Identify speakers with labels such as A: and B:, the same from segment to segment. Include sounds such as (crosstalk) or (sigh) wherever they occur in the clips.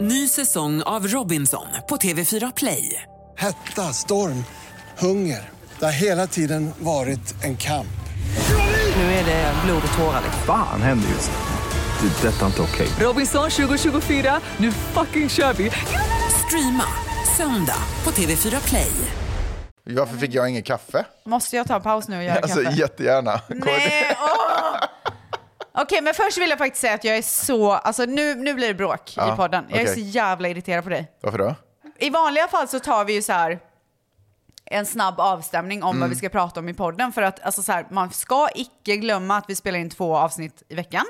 A: Ny säsong av Robinson på TV4 Play.
B: Hetta, storm, hunger. Det har hela tiden varit en kamp.
A: Nu är det blod och tårar. liksom.
C: Fan händer just nu. Det. är Detta är inte okej.
A: Robinson 2024, nu fucking kör vi! Streama söndag på TV4 Play.
D: Varför fick jag ingen kaffe?
E: Måste jag ta en paus nu och göra
D: Alltså
E: kaffe?
D: jättegärna.
E: Nej, åh! Okej, men först vill jag faktiskt säga att jag är så, alltså nu, nu blir det bråk i podden. Jag är
D: okej.
E: så jävla irriterad på dig.
D: Varför då?
E: I vanliga fall så tar vi ju så här en snabb avstämning om
D: Mm.
E: vad vi ska prata om i podden. För att alltså så här, man ska icke glömma att vi spelar in två avsnitt i veckan.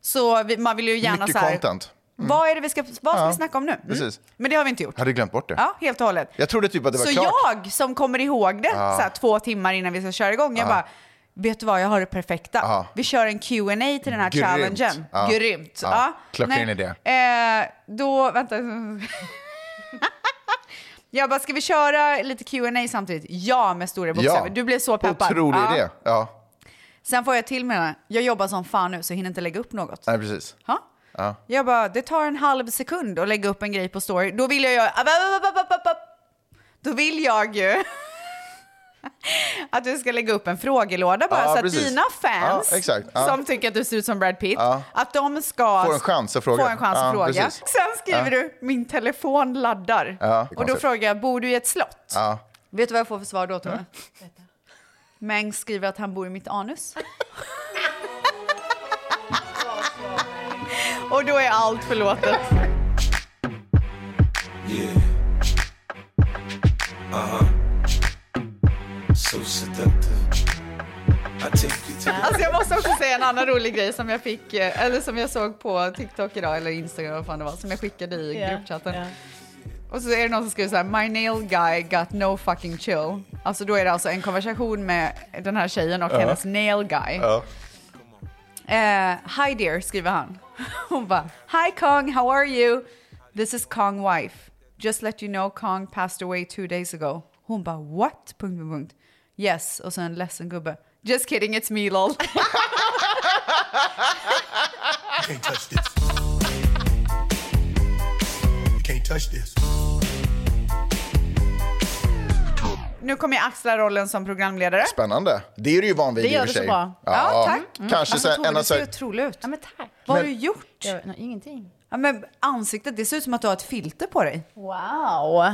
E: Så vi, man vill ju gärna
D: Mm. Mycket
E: så här,
D: content. Mm.
E: vad är det vi ska, vad ska
D: Ja,
E: vi snacka om nu? Mm.
D: precis.
E: Men det har vi inte gjort.
D: Hade glömt bort det.
E: Ja, helt och hållet.
D: Jag trodde typ att det var
E: så
D: klart.
E: jag som kommer ihåg det så här, två timmar innan vi ska köra igång, jag bara, vet du vad, jag har det perfekta.
D: Ja.
E: Vi kör en Q&A till den här
D: Grymt.
E: challengen.
D: Ja.
E: Grymt.
D: Ja. Klockren idé.
E: Eh, då, vänta. (laughs) Jag bara, ska vi köra lite Q&A samtidigt? Ja, med stora bokstäver. Du blev så peppad.
D: Otrolig
E: Ja.
D: idé. Ja,
E: Sen får jag till med det. Jag jobbar som fan nu så jag hinner inte lägga upp något.
D: nej precis.
E: Ja.
D: Ja.
E: Jag bara, det tar en halv sekund att lägga upp en grej på story. Då vill jag ju... app, app, app, app, app, app. Då vill jag ju (laughs) att du ska lägga upp en frågelåda bara
D: Ja,
E: så att
D: precis.
E: dina fans
D: Ja, exakt. Ja.
E: som tycker att du ser ut som Brad Pitt, att de ska
D: Får en chans att fråga.
E: Få en chans att
D: Ja,
E: fråga.
D: precis.
E: Sen skriver du, min telefon laddar.
D: Ja,
E: och då
D: konstigt.
E: frågar jag, bor du i ett slott?
D: Ja. Mm.
E: Vet du vad jag får för svar då Tove? Meng skriver att han bor i
D: (laughs)
E: mitt anus. Och då är allt förlåtet.
F: So seductive. I take you
E: (laughs)
F: to the
E: Alltså jag måste också säga en annan rolig grej som jag fick, eh, eller som jag såg på TikTok idag, eller Instagram vad fan det var, som jag skickade i gruppchatten. Och så är det någon som skriver så här, my nail guy got no fucking chill. Alltså då är det alltså en konversation med den här tjejen och hennes nail guy. Eh, hi dear, skriver han. (laughs) Hon bara, hi Kong, how are you? This is Kong wife. Just let you know Kong passed away two days ago. Hon bara, what? Punkt, punkt, punkt. Yes, och sen en ledsen gubbe. Just kidding, it's me lol.
F: Can't touch this. You can't touch this.
E: Nu kommer jag axla rollen som programledare.
D: Spännande. Det är du ju van vid
G: Det
D: i och
G: gör
D: för
G: du så
D: sig.
G: bra.
E: Ja, tack.
D: Kanske
E: Alltså,
D: sen,
E: Tove,
D: en av
E: du
D: så
E: ser
D: här,
E: otrolig ut.
G: Ja, men tack.
E: Vad har du gjort?
G: Jag, nej, ingenting.
E: Ja, men ansiktet, det ser ut som att du har ett filter på dig.
G: Wow.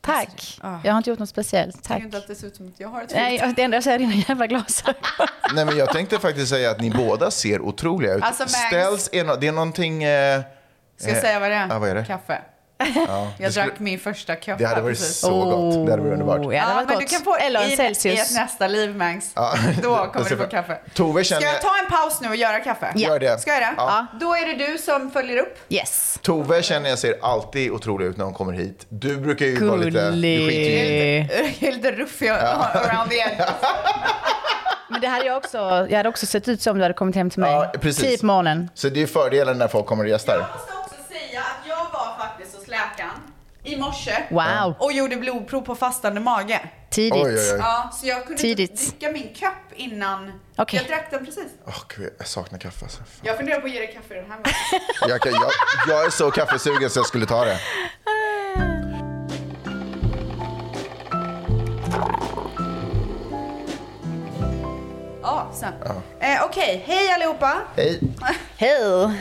G: Tack. Jag har inte gjort något speciellt. Tack.
E: att det ser ut som att jag har ett
G: Nej, jag- det enda jag säger är dina jävla glasögon.
D: nej men jag tänkte faktiskt säga att ni båda ser otroliga ut.
E: Alltså, Max-
D: Ställs är no, det är någonting... Eh,
E: Ska jag
D: eh,
E: säga vad det är?
D: Ja, vad är det?
E: Kaffe.
D: det
E: jag
D: skulle-
E: drack min första kaffe.
D: Det hade varit
E: precis. Oh,
D: så gott. Det hade varit underbart.
G: Ja, det
E: Ja,
G: var
E: men
G: gott.
E: du kan få
G: Eller
E: i,
G: en
E: I ett
G: Celsius.
E: nästa liv, Mangs. (laughs) Då kommer du få kaffe.
D: Tove
E: Ska
D: känner...
E: jag ta en paus nu och göra kaffe?
D: Ja. Gör det.
E: Ska jag det?
D: Ja.
E: Då är det du som följer upp. (laughs)
G: Yes.
D: Tove känner jag ser alltid otrolig ut när hon kommer hit. Du brukar ju vara lite... Du skiter ju i-
G: Gullig.
E: Jag är lite ruffig around the edge.
G: Men det hade jag också. Jag hade också sett ut som om du hade kommit hem till mig. Typ
D: Ja, precis.
E: Typ
G: Tio på morgonen.
D: Så det är fördelen när folk kommer och gästar.
E: Jag måste också säga att jag var faktiskt hos läkaren i morse
G: Wow.
E: och gjorde blodprov på fastande mage.
G: Tidigt.
D: Oj, oj, oj.
E: Ja, så jag kunde
G: Tidigt.
E: inte dricka min kopp innan.
G: Okej.
E: Jag drack den precis.
D: Åh, Gud, jag saknar kaffe. Alltså. Fan.
E: Jag funderar på att ge dig kaffe i den här.
D: (laughs)
E: morgonen.
D: Jag, kan, jag, jag är så kaffesugen så jag skulle ta det.
E: Ja, sen. Eh, Okej, hej allihopa.
D: Hej.
G: Hej.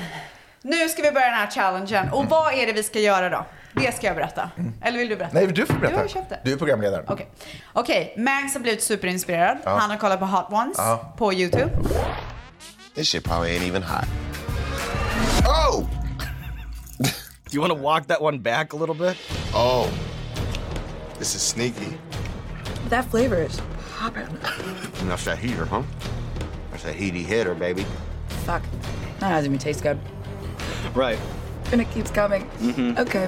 E: Nu ska vi börja den här challengen.
D: Mm.
E: Och vad är det vi ska göra då? Det ska jag berätta. Eller vill du berätta?
D: Nej, du får
E: Du har ju köpt
D: berätta.
E: det.
D: Du är programledaren.
E: Okej, Okej, Mangs har blivit superinspirerad. Han har kollat på Hot Ones
D: Ja.
E: på YouTube.
H: This shit probably ain't even hot. Oh!
I: Do you want to walk that one back a little bit?
H: Oh. This is sneaky.
J: That flavor is popping.
H: And that's that heater, huh? That's that heaty hitter, baby.
J: Fuck. That doesn't even taste good.
I: Right.
J: And it keeps coming. Okay.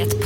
K: Ett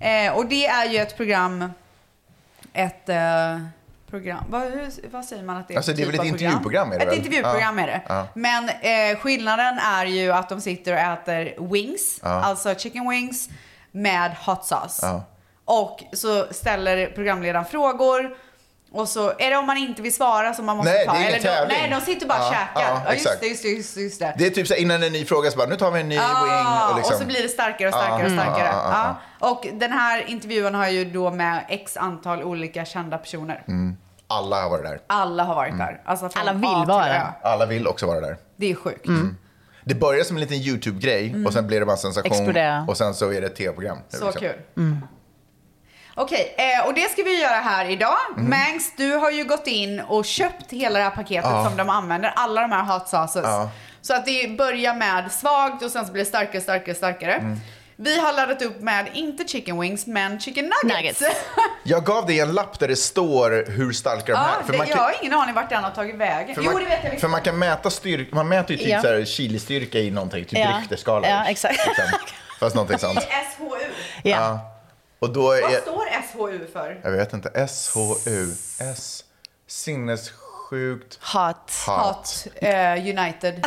E: Eh, och det är ju ett program, ett eh, program, vad, hur, vad säger man att det är?
D: Alltså, det är
E: Typ
D: väl ett
E: av
D: intervjuprogram, är det
E: Ett
D: väl?
E: intervjuprogram
D: Ja.
E: är det.
D: Ja.
E: Men eh, skillnaden är ju att de sitter och äter wings,
D: Ja.
E: alltså chicken wings med hot sauce.
D: Ja.
E: Och så ställer programledaren frågor. Och så är det om man inte vill svara som man måste
D: Nej,
E: ta.
D: det är ingen
E: Eller de-
D: tävling.
E: Nej, de sitter bara och
D: Ja,
E: käkar.
D: ja,
E: Ja, just,
D: exakt.
E: det, just, det, just, det, just det.
D: Det är typ så här, innan en ny fråga så bara, nu tar vi en ny
E: Ja,
D: wing. Och, liksom. Mm. Ah,
E: så blir det starkare Ah, och starkare och
D: Ja,
E: starkare.
D: ja, ja,
E: Ja. Och den här intervjun har ju då med x antal olika kända personer.
D: Mm. Alla har varit där.
E: Alla har varit
D: Mm.
E: där. Alltså från
G: Alla
E: A
G: vill
E: till
G: vara.
E: Ö.
D: Alla vill också vara där.
E: Det är sjukt.
D: Mm. Det började som en liten YouTube-grej
E: Mm.
D: och sen blev det bara en sensation.
E: Explodera.
D: Och sen så är det ett tv-program. nu,
E: Så
D: liksom.
E: kul.
G: Mm.
E: Okej, eh, och det ska vi göra här idag.
D: Mm.
E: Mangs, du har ju gått in och köpt hela det här paketet
D: Ja.
E: som de använder. Alla de här hot sauces.
D: Ja.
E: Så att det börjar med svagt och sen så blir det starkare, starkare, starkare.
D: Mm.
E: Vi har laddat upp med, inte chicken wings, men chicken nuggets.
D: Jag gav dig en lapp där det står hur starka de
E: ja,
D: här...
E: Ah, det, jag har ingen aning vart den har tagit vägen.
D: för
E: Jo,
D: man,
E: det vet
D: För
E: jag. visst.
D: man kan mäta styrka, man mäter ju typ
E: Ja.
D: så här chilistyrka i någonting, typ
E: Ja.
D: Richterskala.
E: Ja, exakt. (laughs)
D: liksom. Fast någonting sånt.
E: SHU.
D: Ja. Och då
E: Vad
D: är...
E: står SHU för?
D: Jag vet inte. SHU. S. Sinnessjukt...
G: Hot.
E: Hot eh, (laughs) United.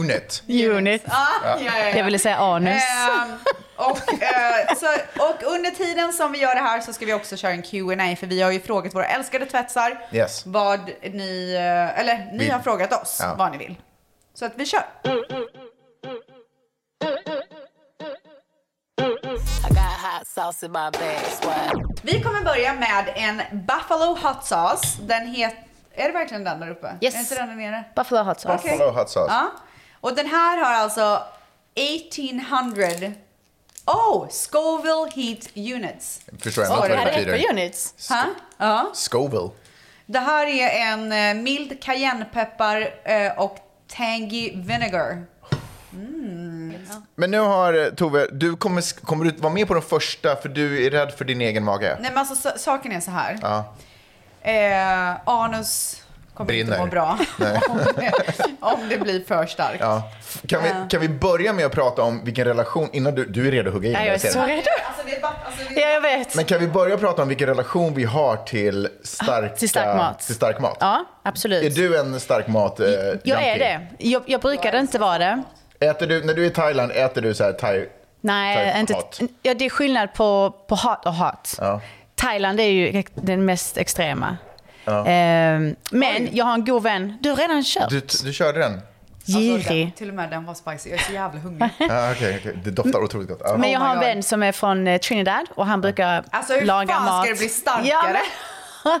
D: Unit.
G: Unit.
E: Ja, ja, ja, ja.
G: Jag ville säga anus.
E: Ehm, och, eh, så, och under tiden som vi gör det här så ska vi också köra en Q&A för vi har ju frågat våra älskade tvättsar
D: Yes.
E: vad ni, eh, eller ni
D: Vill.
E: har frågat oss
D: Ja.
E: vad ni vill. Så att vi kör. Vi kommer börja med en Buffalo Hot Sauce. Den heter, är det verkligen den där uppe?
G: Yes.
E: Är inte den där nere?
G: Buffalo hot sauce.
E: Okej.
D: Buffalo hot sauce.
E: (laughs) Ja. Och den här har alltså 1800... Oh! Scoville Heat Units.
D: Förstår ändå inte vad det betyder.
E: units. Ha? Ja.
D: Scoville.
E: Det här är en eh, mild cayennepeppar eh, och tangy vinegar. Mm.
D: Men nu har eh, Tove, du kommer, sk- kommer du vara med på den första för du är rädd för din egen mage?
E: Nej men alltså sa- saken är så här.
D: Ja.
E: Eh, anus kommer inte
D: Brinner.
E: må bra (laughs)
D: Nej.
E: om det blir för starkt.
D: Ja. Kan,
E: Ja.
D: vi, kan vi börja med att prata om vilken relation, innan du, du är redo att hugga in?
G: Ja, jag är
D: ser
G: så
D: det.
G: redo.
E: Alltså, det är bara- alltså, det
G: Ja, jag vet.
D: Men kan vi börja prata om vilken relation vi har till, starka,
G: Ah, till stark mat.
D: Till stark mat?
G: Ja, absolut.
D: Är du en stark mat eh,
G: jag är
D: junkie?
G: det. Jag, jag brukade inte vara det.
D: Äter du, när du är i Thailand, äter du så här thai...
G: Nej,
D: Type
G: inte,
D: hot.
G: ja, det är skillnad på, på hot och hot.
D: Ja.
G: Thailand är ju den mest extrema.
D: Ja.
G: Ehm, men jag har en god vän. Du har redan kört.
D: Du, du körde den?
E: Alltså,
G: Girig.
E: den, till och med den var spicy. Jag är så jävla hungrig.
D: Ja, Ah, okej, okej. Det
G: Mm.
D: doftar otroligt gott. Ah. Ja.
G: Men jag
E: Oh my
G: har en
E: God.
G: vän som är från eh, Trinidad och han brukar
E: Alltså hur
G: laga
E: fan
G: mat.
E: ska det bli starkare?
G: Ja, men- (laughs)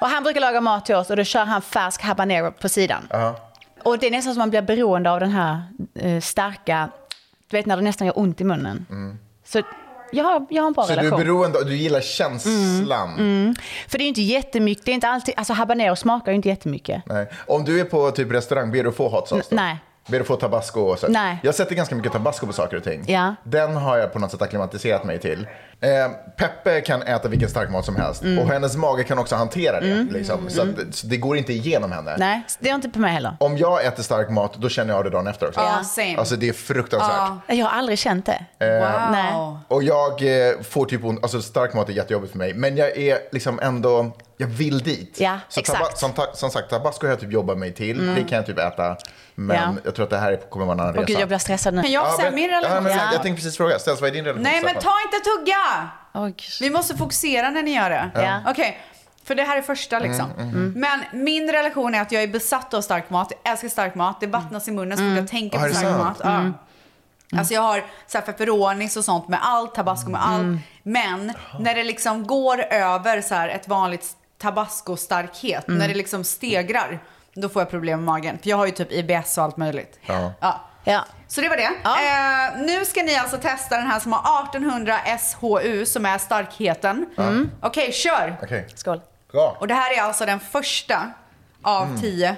G: och han brukar laga mat till oss och då kör han färsk habanero på sidan.
D: Ja.
G: Och det är nästan som man blir beroende av den här eh, starka, du vet när det nästan gör ont i munnen. Så jag har, jag har en bra
D: Mm. Så du
G: relation.
D: är beroende, av- du gillar känslan?
G: Mm. För det är ju inte jättemycket, det är inte alltid, alltså habanero smakar ju inte jättemycket.
D: Nej. Om du är på typ restaurang, ber du få hot sauce? då?
G: Nej.
D: Ber du få tabasco? Och så.
G: Nej.
D: Jag sätter ganska mycket tabasco på saker och ting.
G: Ja.
D: Den har jag på något sätt akklimatiserat mig till. Eh, Peppe kan äta vilken starkmat som helst
G: Mm.
D: och hennes mage kan också hantera det.
G: Mm.
D: Liksom. Så, att, så det går inte igenom henne.
G: Nej, det är inte på mig heller.
D: Om jag äter stark mat, då känner jag av det dagen efter också.
G: Ja, same.
D: Alltså det är fruktansvärt.
G: Jag har aldrig känt det.
D: Eh,
G: Nej.
D: Och jag eh, får typ ont, alltså stark mat är jättejobbigt för mig, men jag är liksom ändå, jag vill dit.
G: Ja,
D: så
G: exakt.
D: taba- som, ta- som sagt, tabasco har jag typ jobbat mig till,
G: Mm.
D: det kan jag typ äta, men
G: Ja.
D: jag tror att det här är- kommer vara en annan
G: Åh
D: resa.
G: gud, jag blir stressad nu.
E: Kan jag säga
D: men-
E: min relation?
D: Ja, men,
E: Ja.
D: Jag tänkte precis fråga, Stens, vad är din relation
E: Nej
D: till
E: men
D: stark
E: ta
D: mat?
E: inte tugga! Vi måste fokusera när ni gör det.
D: Ja.
E: Okej, för det här är första liksom.
D: Mm, mm,
E: Men min relation är att jag är besatt av stark mat. Jag älskar stark mat. Det vattnas i munnen så fort jag tänker
D: Ah, är
E: på
D: det
E: stark
D: sant?
E: mat. Ja.
D: Mm.
E: Alltså jag har så här pepperonis och sånt med allt, tabasco med allt.
D: Mm.
E: Men när det liksom går över så här ett vanligt tabasco-starkhet,
G: Mm.
E: när det liksom stegrar, då får jag problem med magen. För jag har ju typ IBS och allt möjligt.
D: Ja.
E: Ja.
G: Ja.
E: Så det var det. Eh, nu ska ni alltså testa den här som har 1800 SHU som är starkheten.
D: Mm.
E: Okej, kör!
D: Okej.
G: Skål.
D: Bra.
E: Och det här är alltså den första av
D: Mm.
E: tio.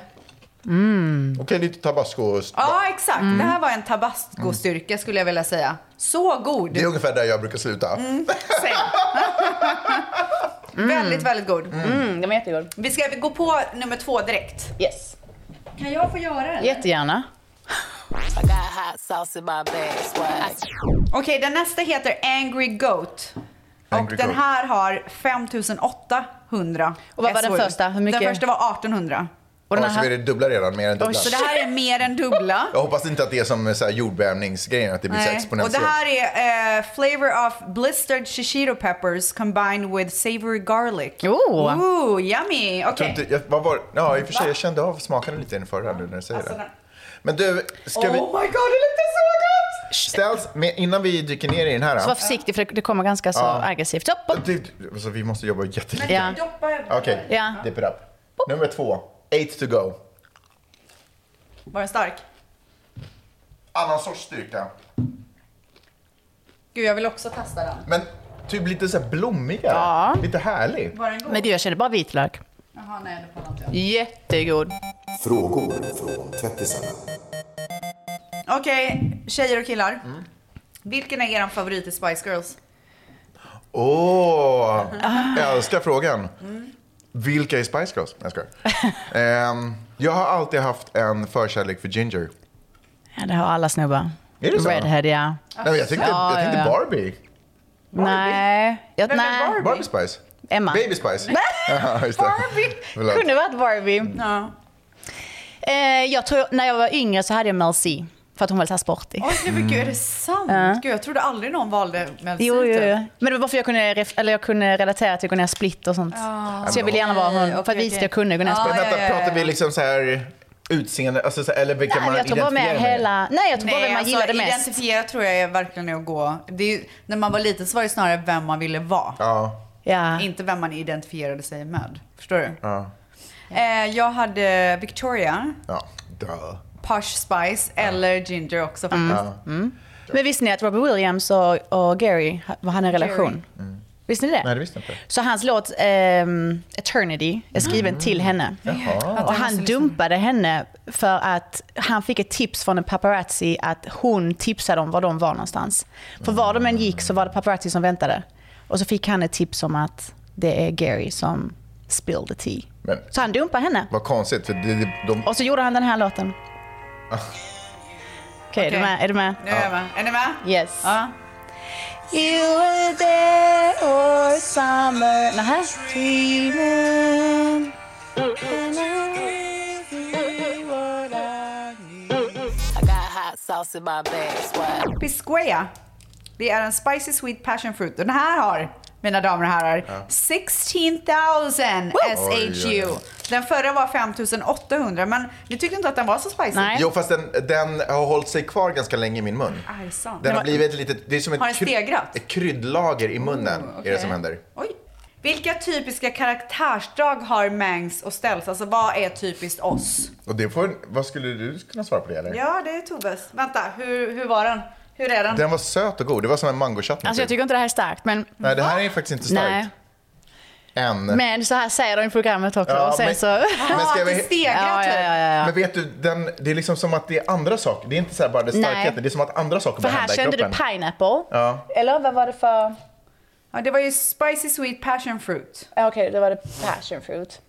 D: Okej, lite tabasco.
E: Ja, exakt.
D: Mm.
E: Det här var en tabasco-styrka skulle jag vilja säga. Så god!
D: Det är ungefär där jag brukar sluta.
E: Mm, säg.
D: (laughs)
E: Väldigt, väldigt god.
G: Mm, den var jättegod.
E: Vi ska gå på nummer två direkt.
G: Yes.
E: Kan jag få göra den?
G: Jättegärna.
E: Okej, den nästa heter Angry Goat.
D: Angry
E: Den
D: Goat.
E: här har 5800
G: Och vad var den
E: SOU.
G: första? Hur mycket?
E: Den första var 1800.
D: Och den Så är det dubbla redan, mer än dubbla.
E: Så det här är mer än dubbla.
D: Jag hoppas inte att det är som så här jordbävningsgrejen, att det blir så här
E: Och det
D: exponentiellt.
E: här är eh, flavor of blistered shishito peppers combined with savory garlic.
G: Oh.
E: Ooh, yummy!
D: Jag tror
E: Okej.
D: inte, jag, vad var, ja, i och för sig, jag kände av smaken lite inför här nu när du säger
E: Alltså,
D: det. Men du, ska
E: Oh
D: vi...
E: my god, det luktar så gott!
D: Ställs, men innan vi dyker ner i den här.
G: Så var försiktig för det- det kommer ganska så
D: Ja.
G: aggressivt. Topp.
D: Det- Alltså, vi måste jobba jättelite.
G: Ja.
D: Okej,
G: Ja.
D: dip it up. Nummer två, eight to go.
E: Var den stark?
D: Annan sorts styrka.
E: Gud, jag vill också testa den.
D: Men typ lite så här blommigare. Lite härlig.
E: Var den god?
G: Men du, jag känner bara vitlök.
E: Jaha, nej, det får inte
G: Jättegod.
K: Frågor från tvättisarna.
E: jag. Okej, tjejer och killar.
D: Mm.
E: Vilken är er favorit i Spice Girls?
D: Åh,
G: Ah.
D: jag älskar frågan.
G: Mm.
D: Vilka är Spice Girls? Jag skojar.
G: (laughs)
D: Ehm, jag har alltid haft en förkärlek för ginger.
G: Ah, Ja, det har alla snubbar.
D: Är det så?
G: Redhead, ja.
D: Nej, men jag tänkte, jag tänkte Barbie.
G: Nej. Jag, nej.
D: Barbie? Spice?
G: Emma.
D: Baby
G: (laughs)
D: Spice?
G: Nej.
D: Ja, just det. Förlåt.
G: Kunde varit Barbie. Eh, jag tror, när jag var yngre så hade jag Mel C. För att hon var lite så här sportig.
E: Oj, nej, men gud, är det sant?
G: Ja.
E: Gud, jag trodde aldrig någon valde Mel C.
G: Jo, jo,
E: typ.
G: jo. Men det var bara för jag kunde, ref- eller jag kunde relatera till Gunilla Splitt och sånt.
E: Ah.
G: Så jag ville gärna vara hon,
E: Okej,
G: för
E: okej,
G: att visa att
E: okej.
G: jag kunde Gunilla
E: Ah,
G: Splitt.
E: ja,
D: Vänta, pratar vi liksom så här utseende, alltså så här, eller vilka
G: Nej,
D: man
G: jag tror bara med
D: identifierar med?
G: hela- nej, jag tror bara vem
E: alltså,
G: man gillade mest.
E: Identifiera tror jag är verkligen är att gå... Det är, ju- när man var liten så var det snarare vem man ville vara.
D: Ja.
E: Inte vem man identifierade sig med. Förstår du?
D: Ja.
E: Eh, jag hade Victoria,
D: ja. Duh.
E: Posh Spice eller Ginger också
G: Mm.
E: faktiskt.
G: Men visste ni att Robert Williams och, och Gary ha- hade en relation? Visste ni det?
D: Nej, det visste jag inte.
G: Så hans låt ehm, Eternity är skriven till henne.
D: Jaha.
G: Och han dumpade henne för att han fick ett tips från en paparazzi att hon tipsade om var de var någonstans. För var de än gick så var det paparazzi som väntade. Och så fick han ett tips om att det är Gary som spilled the tea.
D: Men
G: Så han dumpade henne.
D: vad konstigt, för de, de, de,
G: Och så gjorde han den
D: (laughs)
G: här låten. Okej, är du med? Är du med?
E: Nu är jag med. Är ni med?
G: Yes.
E: Ja.
G: You were there or summer Nähä? Dreaming
E: Piscoia. Det är en spicy sweet passion fruit. Den här har, mina damer och herrar, 16,000
D: Oj, oj,
E: SHU.
D: oj.
E: Den förra var 5800, men ni tyckte inte att den var så spicy?
D: Jo, fast den, den har hållit sig kvar ganska länge i min mun.
E: Ah, är det sant?
D: Den har blivit lite, det är som ett,
E: Har den
D: kry-
E: stegrat? Oh,
D: ett kryddlager i munnen, är
E: okej.
D: det som händer.
E: Oj. Vilka typiska karaktärsdrag har Mangs och Ställs? Alltså vad är typiskt oss?
D: Och det får, vad skulle du kunna svara på det eller?
E: Ja, det är Tobes. Vänta, hur, hur var den? Hur är den?
D: Den var söt och god, det var som en mangochutney.
G: Alltså
D: typ.
G: jag tycker inte det här är starkt men...
D: Nej, det här är faktiskt inte starkt. Än.
G: Nej. Men så här säger de i programmet också
D: Ja,
G: och sen
D: men-
G: så...
D: men ska jag vara-
G: ja,
E: typ.
G: ja, ja, ja, ja.
D: Men vet du, den, det är liksom som att det är andra saker. Det är inte så här bara det
G: Nej.
D: starkheten, det är som att andra saker
G: För
D: börjar
G: här
D: hända i
G: kände du
D: kroppen.
G: pineapple.
D: Ja.
G: Eller vad var det för...
E: Ja, det var ju spicy sweet passion fruit.
G: Ja, Okej, då var det passion fruit.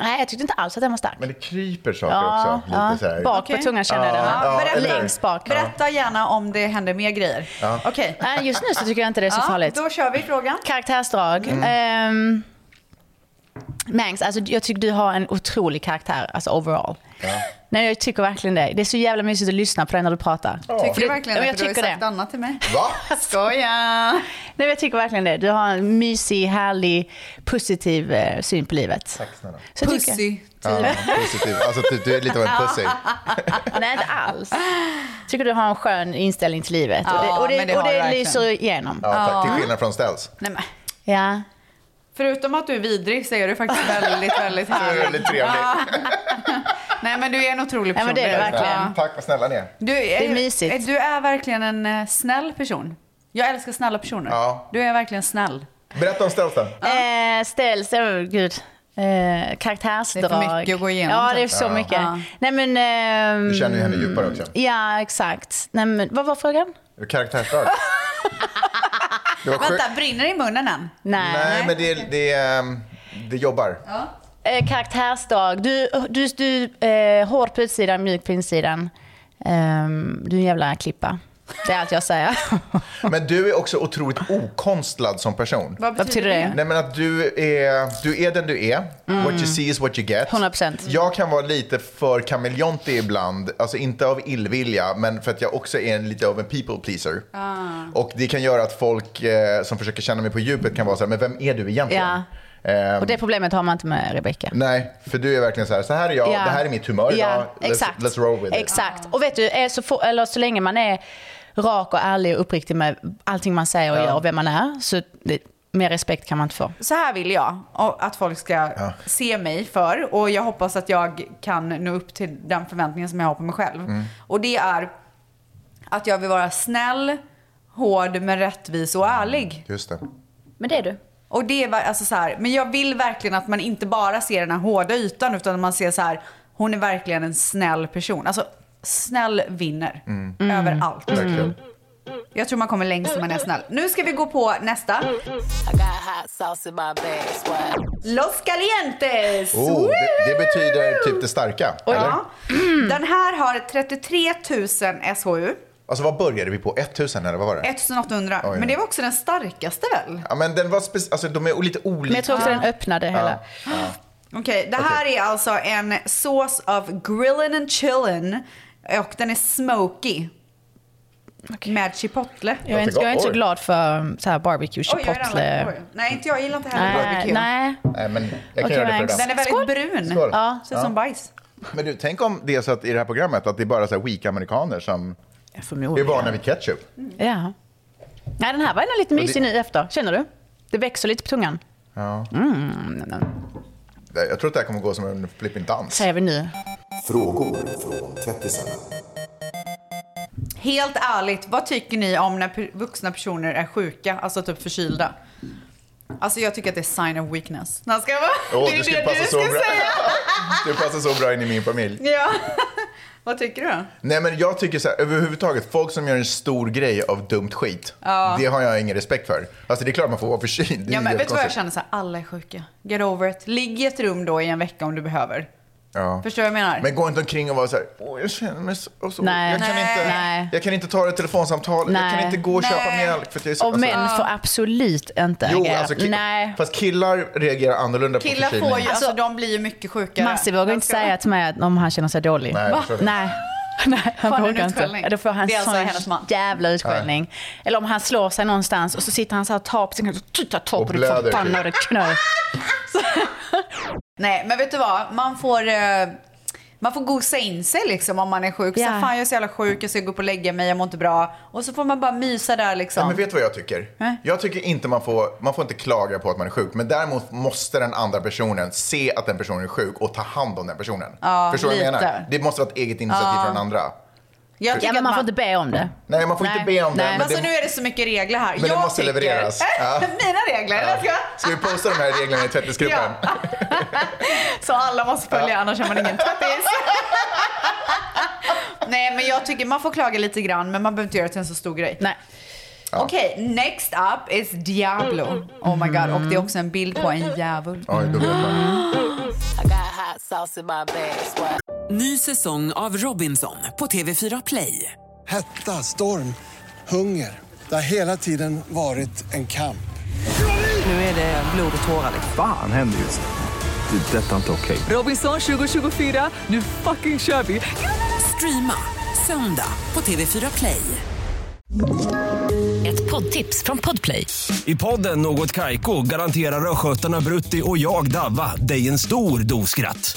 G: Nej, jag tyckte inte alls att den var stark.
D: Men det kryper saker
G: Ja,
D: också.
G: ja.
D: Lite så här.
G: Bak på Okej. tungan känner jag den. Ja, berätta.
D: eller-
G: Längst bak.
E: Berätta gärna om det händer mer grejer.
D: Ja.
E: Okej.
G: Nej, just nu så tycker jag inte det är så
E: Ja,
G: farligt.
E: Då kör vi frågan.
G: Karaktärsdrag.
D: Mm.
G: Ehm, Mangs, alltså, jag tycker du har en otrolig karaktär, alltså overall. Nej, jag tycker verkligen det. Det är så jävla mysigt att lyssna på dig när du pratar.
E: Tycker du verkligen
G: Ja,
E: det?
G: men jag
E: För du har
G: tycker
E: ju sagt
G: det.
E: annat till mig.
G: (laughs)
D: Va?
E: Skoja! Nej,
G: men jag tycker verkligen det. Du har en mysig, härlig, positiv eh, syn på livet. Tack
D: snälla.
E: Pussy.
D: Ja, positiv. Alltså typ, du är lite av en pussy.
G: Nej, inte alls. tycker du har en skön inställning till livet.
E: Ja,
G: och det, och det,
E: men det
G: och
E: har du
G: det
E: verkligen.
G: lyser igenom.
D: Ja, tack. Till skillnad från Ställs.
E: Nej, men.
G: Ja.
E: Förutom att du är vidrig så är du faktiskt väldigt, väldigt
D: Du är väldigt trevlig.
E: Ja. Nej, men du är en otrolig
G: Ja,
E: person.
G: men det är du verkligen.
E: Ja.
D: Tack, vad snälla ni är.
E: Du är, eh,
G: Det är mysigt.
E: Du är verkligen en eh, snäll person. Jag älskar snälla personer.
D: Ja.
E: Du är verkligen snäll.
D: Berätta om Stelsten.
G: Eh, ställs, åh gud. Eh, karaktärsdrag.
E: Det är för mycket att gå igenom,
G: Ja, det är
E: typ.
G: så
E: Ja.
G: mycket.
E: Ja.
G: Nej, men, ehm,
D: Du känner ju henne djupare också.
G: Ja, exakt. Nej, men, vad var frågan?
D: Karaktärsdrag.
G: (laughs)
D: Det var sjukt.
E: Vänta, brinner det i munnen än?
G: Nej.
D: Nej, men det, det, ehm, det jobbar.
G: Eh, karaktärsdrag. Du, du, du eh, hård på utsidan, mjuk på insidan. Ehm, du är en jävla klippa. Det är allt
E: (laughs)
G: jag säger.
D: Men du är också otroligt okonstlad som person.
G: Vad betyder Vad betyder det? det?
D: Nej, men att du är, du är den du är.
G: Mm.
D: What you see is what you get.
G: 100%.
D: Jag kan vara lite för kameleontig ibland. Alltså inte av illvilja, men för att jag också är en, lite av en people pleaser.
G: Ah.
D: Och det kan göra att folk eh, som försöker känna mig på djupet kan vara så här, men vem är du egentligen?
G: Ja.
D: Ehm,
G: Och det problemet har man inte med Rebecca.
D: Nej, för du är verkligen så här, så här är jag,
G: Ja.
D: det här är mitt humör idag.
G: Ja, exakt.
D: Let's, let's roll with it.
G: Exakt. Och vet du, är så, få, eller så länge man är rak och ärlig och uppriktig med allting man säger och
E: Ja.
G: gör och vem man är, så det, mer respekt kan man inte få.
E: Så här vill jag och att folk ska se mig för och jag hoppas att jag kan nå upp till den förväntningen som jag har på mig själv.
L: Mm.
E: Och det är att jag vill vara snäll, hård men rättvis och ärlig.
D: Just det.
G: Men det är du.
E: Och det är va- alltså så här, men jag vill verkligen att man inte bara ser den här hårda ytan utan att man ser så här, hon är verkligen en snäll person. Alltså snäll vinner
D: Mm.
E: överallt.
D: Verkligen.
E: Jag tror man kommer längst om man är snäll. Nu ska vi gå på nästa. Los Calientes!
D: Oh, det, det betyder typ det starka. Eller?
E: Ja. (clears throat) Den här har 33 000 SHU.
D: Alltså vad började vi på? 1000 eller vad var det?
E: 1800.
D: Oj,
E: Men
D: ja.
E: det var också den starkaste väl?
D: Ja, men den var speci- alltså, de är lite olika.
E: Men jag tror också den
G: öppnade
E: hela.
D: Ja. Ja.
E: Okej, det här är alltså en sås av grillin' and chillin' och den är smoky. Med chipotle.
G: Jag är inte, jag är inte så glad för um, så här barbecue
E: Oj, jag är redan
G: chipotle.
E: lagt på. Nej, inte jag gillar inte heller
G: Nej,
E: barbecue.
G: nej.
D: Nej, men jag kan
G: Okej,
D: göra det för
G: thanks.
D: idag.
E: Den är väldigt brun.
D: Skål.
E: Ja, ser ut som
D: Ja.
E: bajs.
D: Men du, tänk om det är så att i det här programmet att det är bara så här weak-amerikaner som är vana vid ketchup.
G: Ja. Nej, den här var ändå lite
D: Och det-
G: mysig nu efter. Känner du? Det växer lite på tungan.
D: Ja.
G: Mm.
D: Jag tror att det här kommer gå som en flipping dans.
G: Säger vi nu.
K: Frågor från tvättisarna.
E: Helt ärligt, vad tycker ni om när per- vuxna personer är sjuka, alltså typ förkylda? Alltså jag tycker att det är sign of weakness. Nej, ska jag vara?
D: Åh,
E: det
D: du
E: är
D: skulle
E: det
D: passa
E: du
D: så
E: ska
D: bra. (laughs)
E: säga.
D: Det passar så bra in i min familj.
E: Ja. (laughs) vad tycker du då?
D: Nej men jag tycker så här, överhuvudtaget, folk som gör en stor grej av dumt skit,
E: Ja.
D: det har jag ingen respekt för. Alltså det är klart man får vara förkyld. Det är
E: Ja, men
D: helt
E: vet du vad jag
D: konstigt.
E: känner? Så här, alla är sjuka. Get over it. Ligg i ett rum då i en vecka om du behöver.
D: Ja.
E: Förstår du vad jag menar?
D: Men gå inte omkring och vara så här, åh jag känner mig så... Och så
G: Nej.
D: jag, kan
G: Nej.
D: Inte,
G: Nej.
D: jag kan inte ta det telefonsamtalet, jag kan
G: Nej.
D: inte gå och köpa
G: Nej.
D: mjölk för att jag är så... alltså,
G: Och män får absolut inte
D: Jo,
G: agera.
D: alltså, ki-
G: Nej.
D: Fast killar reagerar annorlunda på
E: Killar
D: förkylning.
E: får ju, alltså, de blir ju mycket sjukare.
G: Massi vågar inte säga till mig att- om han känner sig dålig.
D: Nej, jag
G: Va?
D: förstår det.
G: Nej. (laughs) Nej, han
E: Får han
G: vågar
E: en
G: inte.
E: utskällning?
G: Ja, Då får han
E: Det är alltså
G: sån
E: hennes man.
G: jävla utskällning. Eller om han slår sig någonstans och så sitter han så här och tar på sin knä. Titta, tar
E: Och
G: på din
E: blöder,
G: förbannade (laughs) knö.
E: Nej, men vet du vad? Man får, eh, man får gosa in sig liksom om man är sjuk. Så
G: Ja.
E: här, fan jag är så jävla sjuk, jag ska gå upp och lägga mig, jag mår inte bra. Och så får man bara mysa där liksom.
D: Ja, men vet du vad jag tycker? Jag tycker inte man får, man får inte klaga på att man är sjuk. Men däremot måste den andra personen se att den personen är sjuk och ta hand om den personen.
G: Ja,
D: Förstår du vad jag
G: lite.
D: menar? Det måste vara ett eget initiativ
G: Ja.
D: från den andra.
E: Jag
G: ja,
E: tycker
G: men
E: att
G: man får
E: man-
G: inte be om det.
D: Nej, man får inte be om det.
E: Men
D: Men
E: alltså nu
D: det,
E: är det så mycket regler här.
D: men det
E: jag
D: måste
E: tycker... (laughs)
D: levereras. Ja.
E: Mina regler, jag ska...
D: Ska vi posta de här reglerna i tvättisgruppen?
E: Så alla måste följa, annars är man ingen tvättis. (laughs) Nej, men jag tycker man får klaga lite grann, men man behöver inte göra det till en så stor grej.
G: Nej.
D: Ja.
E: Ah, Okej, next up is Diablo. Oh my god, och det är också en bild på en djävul.
D: Oj, då vet man.
A: Ny säsong av Robinson på TV4 Play.
B: Hetta, storm, hunger. Det har hela tiden varit en kamp.
A: Nu är det blod och tårar. liksom.
C: Fan händer just det. Det är detta inte okej.
A: Robinson 2024, nu fucking kör vi! Streama söndag på TV4 Play. Ett poddtips från Podplay.
M: I podden Något Kaiko garanterar östgötarna Brutti och jag, Davva, dig en stor dos skratt.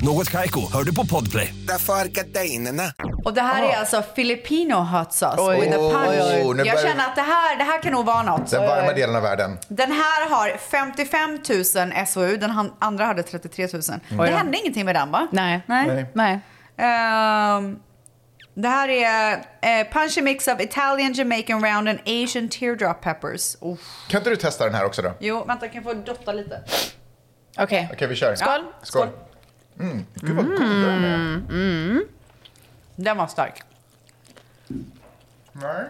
M: Något Kaiko, hör du på podplay.
B: Därför är gardinerna.
E: Och det här är alltså Filipino hot sauce
D: Oj.
E: with a punch.
D: Oj, oj, oj. Nu
E: Jag
D: börjar-
E: känner att det här, det här kan nog vara något.
D: Den varma delen av världen.
E: Den här har 55 000 SOU, den han- andra hade 33 000.
D: Oj
E: Det
D: då.
E: hände ingenting med den va?
G: Nej.
E: Nej.
D: Nej.
E: Ehm, det här är eh, punchy mix of Italian, Jamaican round and Asian teardrop peppers. Oh.
D: Kan inte du testa den här också då? Okej,
E: Jo, vänta, kan jag få dotta lite?
G: Okej.
D: vi kör.
E: Skål.
D: Skål. Mm, gud vad god den är.
E: Mm. Den var stark.
D: Nej.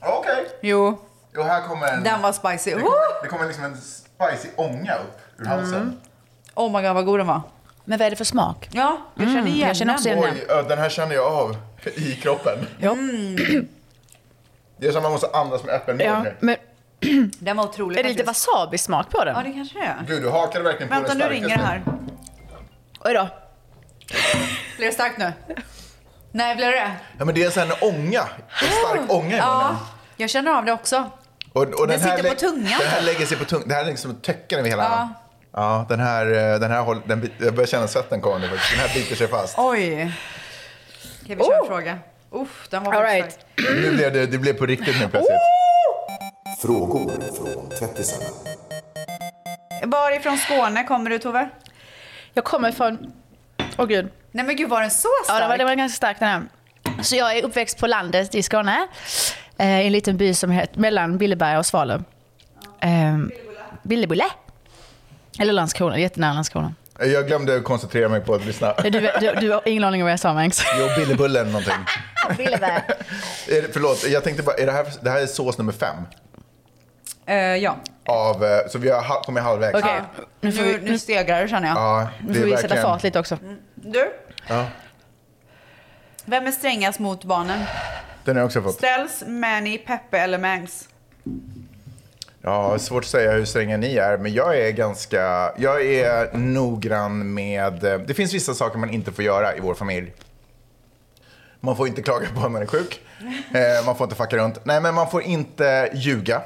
D: Okej.
E: Jo.
D: Och här kommer en...
E: Den var spicy.
D: Det
E: Woo! Mm.
D: kommer, det kommer liksom en spicy ånga upp ur halsen.
E: Oh my god vad god den var.
G: Men vad är det för smak?
E: Ja, jag känner igen
G: Mm. jag känner också
E: den.
G: igen
D: Oj,
G: den.
D: ö, den här känner jag av (laughs) i kroppen. Mm. Det är som att man måste andas med öppen mun.
G: Ja,
D: nu.
G: men
E: Den var otrolig
G: är det lite wasabi-smak på den?
E: Ja, det kanske det är.
D: Gud, du hakade verkligen
E: Vänta,
D: på
E: nu
D: den
E: ringer det här.
G: Oj då.
E: Blir det starkt nu? Nej, blir det
D: Ja, men det är en sån här ånga. En stark ånga i munnen.
E: (gasps) Ja, jag känner av det också.
D: Och, och
E: Den sitter
D: lä-
E: på tungan.
D: Den här lägger sig på tungan. Det här är liksom täcker över hela...
E: Ja.
D: Ja. Ja, den här, eh, den här håll, den, bit- jag börjar känna svetten komma nu faktiskt. Den här biter sig fast.
E: Oj. Okej, vi
G: Oh!
E: kör en fråga. Uff, den var All right.
D: Nu blev det, det blev på riktigt nu plötsligt.
N: Frågor från tvättisarna.
E: Varifrån Skåne kommer du Tove?
G: Jag kommer från... Åh gud.
E: Nej men gud, var den så stark?
G: Ja, den var, den var ganska stark den här. Så jag är uppväxt på landet i Skåne. Eh, I en liten by som heter mellan Billeberga och Svalöv. Eh, Billebulle. Eller Landskrona, jättenära Landskrona.
D: Jag glömde koncentrera mig på att lyssna.
G: Du, du, du har ingen aning om vad jag sa Mangs.
D: Jo, Billebullen någonting.
G: (laughs) Billeberga.
D: Är det- Förlåt, jag tänkte bara, är det, här, det här är sås nummer fem.
E: Eh, ja.
D: Av, eh, så vi har ha- kommit halvvägs.
E: Okej, nu, nu, stegrar det känner jag.
D: Ja,
G: Nu
D: det
G: får
D: är
G: vi
D: verkligen...
G: sätta fart lite också.
E: Du,
D: Ja,
E: vem är strängast mot barnen?
D: den har jag också fått.
E: Ställs, Manny, Peppe eller Mangs?
D: Ja, svårt att säga hur stränga ni är, men jag är ganska... Jag är noggrann med... eh, Det finns vissa saker man inte får göra i vår familj. Man får inte klaga på att man är
E: (laughs)
D: sjuk. Eh, Man får inte fucka runt. Nej, men man får inte ljuga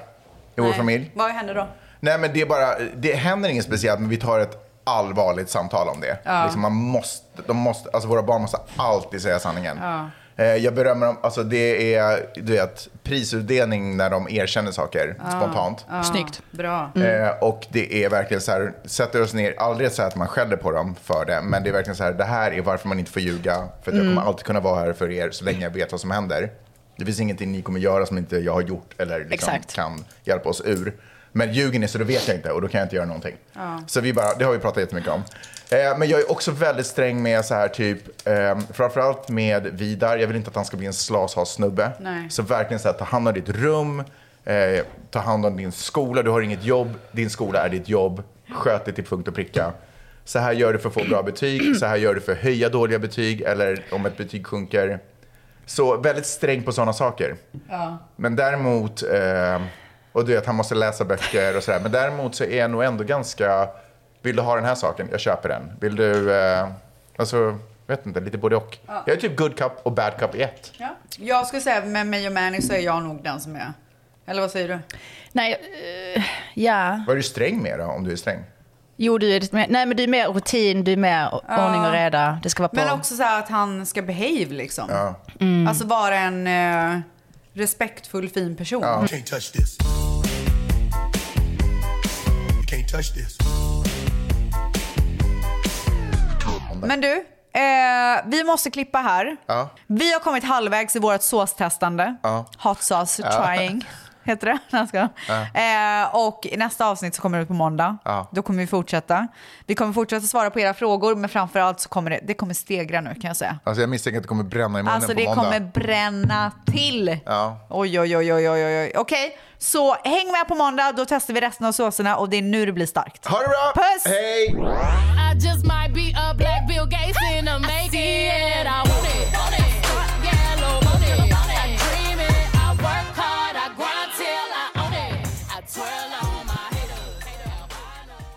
D: i vår
E: Nej.
D: familj.
E: Vad händer då?
D: Nej, men det är bara... Det händer inget speciellt, men vi tar ett allvarligt samtal om det.
E: Ja.
D: Liksom man måste, de måste, alltså våra barn måste alltid säga sanningen.
E: Ja.
D: Eh, Jag berömmer dem. Alltså det är du vet, prisutdelning när de erkänner saker
E: Ja.
D: spontant.
E: Ja. Bra.
D: Eh, och det är verkligen så här, sätter oss ner, aldrig så här att man skäller på dem för det, men det är verkligen så här, det här är varför man inte får ljuga, för att jag
E: Mm.
D: kommer alltid kunna vara här för er så länge jag vet vad som händer. Det finns ingenting ni kommer göra som inte jag har gjort eller liksom
E: Exakt.
D: kan hjälpa oss ur. Men ljuger ni så då vet jag inte och då kan jag inte göra någonting.
E: Ja.
D: Så vi bara, det har vi pratat jättemycket om. Eh, men jag är också väldigt sträng med så här typ, eh, framförallt med Vidar, jag vill inte att han ska bli en slashas-snubbe.
E: Nej.
D: Så verkligen så här, ta hand om ditt rum, eh, ta hand om din skola, du har inget jobb, din skola är ditt jobb, sköt det till punkt och pricka. Så här gör du för att få bra betyg, så här gör du för att höja dåliga betyg eller om ett betyg sjunker. Så väldigt sträng på sådana saker.
E: Ja.
D: Men däremot, eh, och du vet han måste läsa böcker och sådär. Men däremot så är jag nog ändå ganska, vill du ha den här saken? Jag köper den. Vill du, eh, alltså, vet inte, lite både och.
E: Ja.
D: Jag är typ good cup och bad cup i ett.
E: Ja. Jag skulle säga med mig och Manny så är jag nog den som är... Eller vad säger du?
G: Nej, eh, ja.
D: Vad är du sträng med då, om du är sträng?
G: Jo, du är lite mer, nej men du är mer rutin, du är mer o-
E: Ja.
G: ordning och reda. Det ska vara på.
E: Men också så här att han ska behave liksom.
D: Ja.
G: Mm.
E: Alltså vara en eh, respektfull, fin person.
D: Ja.
F: Can't touch this. Can't touch this.
E: Men du, eh, vi måste klippa här.
D: Ja.
E: Vi har kommit halvvägs i vårt såstestande.
D: Ja.
E: Hot sauce
D: Ja.
E: trying. (laughs) Heter det? Nej, jag skojar. Eh, och i nästa avsnitt så kommer det ut på måndag.
D: Ja.
E: Då kommer vi fortsätta. Vi kommer fortsätta svara på era frågor, men framförallt så kommer det, det kommer stegra nu kan jag säga.
D: Alltså jag misstänker att det kommer bränna i munnen
E: Alltså
D: på
E: det
D: måndag.
E: kommer bränna till.
D: Ja.
E: Oj, oj, oj, oj, oj, oj. Okej, så häng med på måndag. Då testar vi resten av såserna och det är nu det blir starkt.
D: Ha det bra!
E: Puss!
D: Hej!
O: I just might be a black Bill Gates in the making. I want it, want it, hot yellow, want it. I dream it, I work hard, I grind till I own it. I twirl on my haters.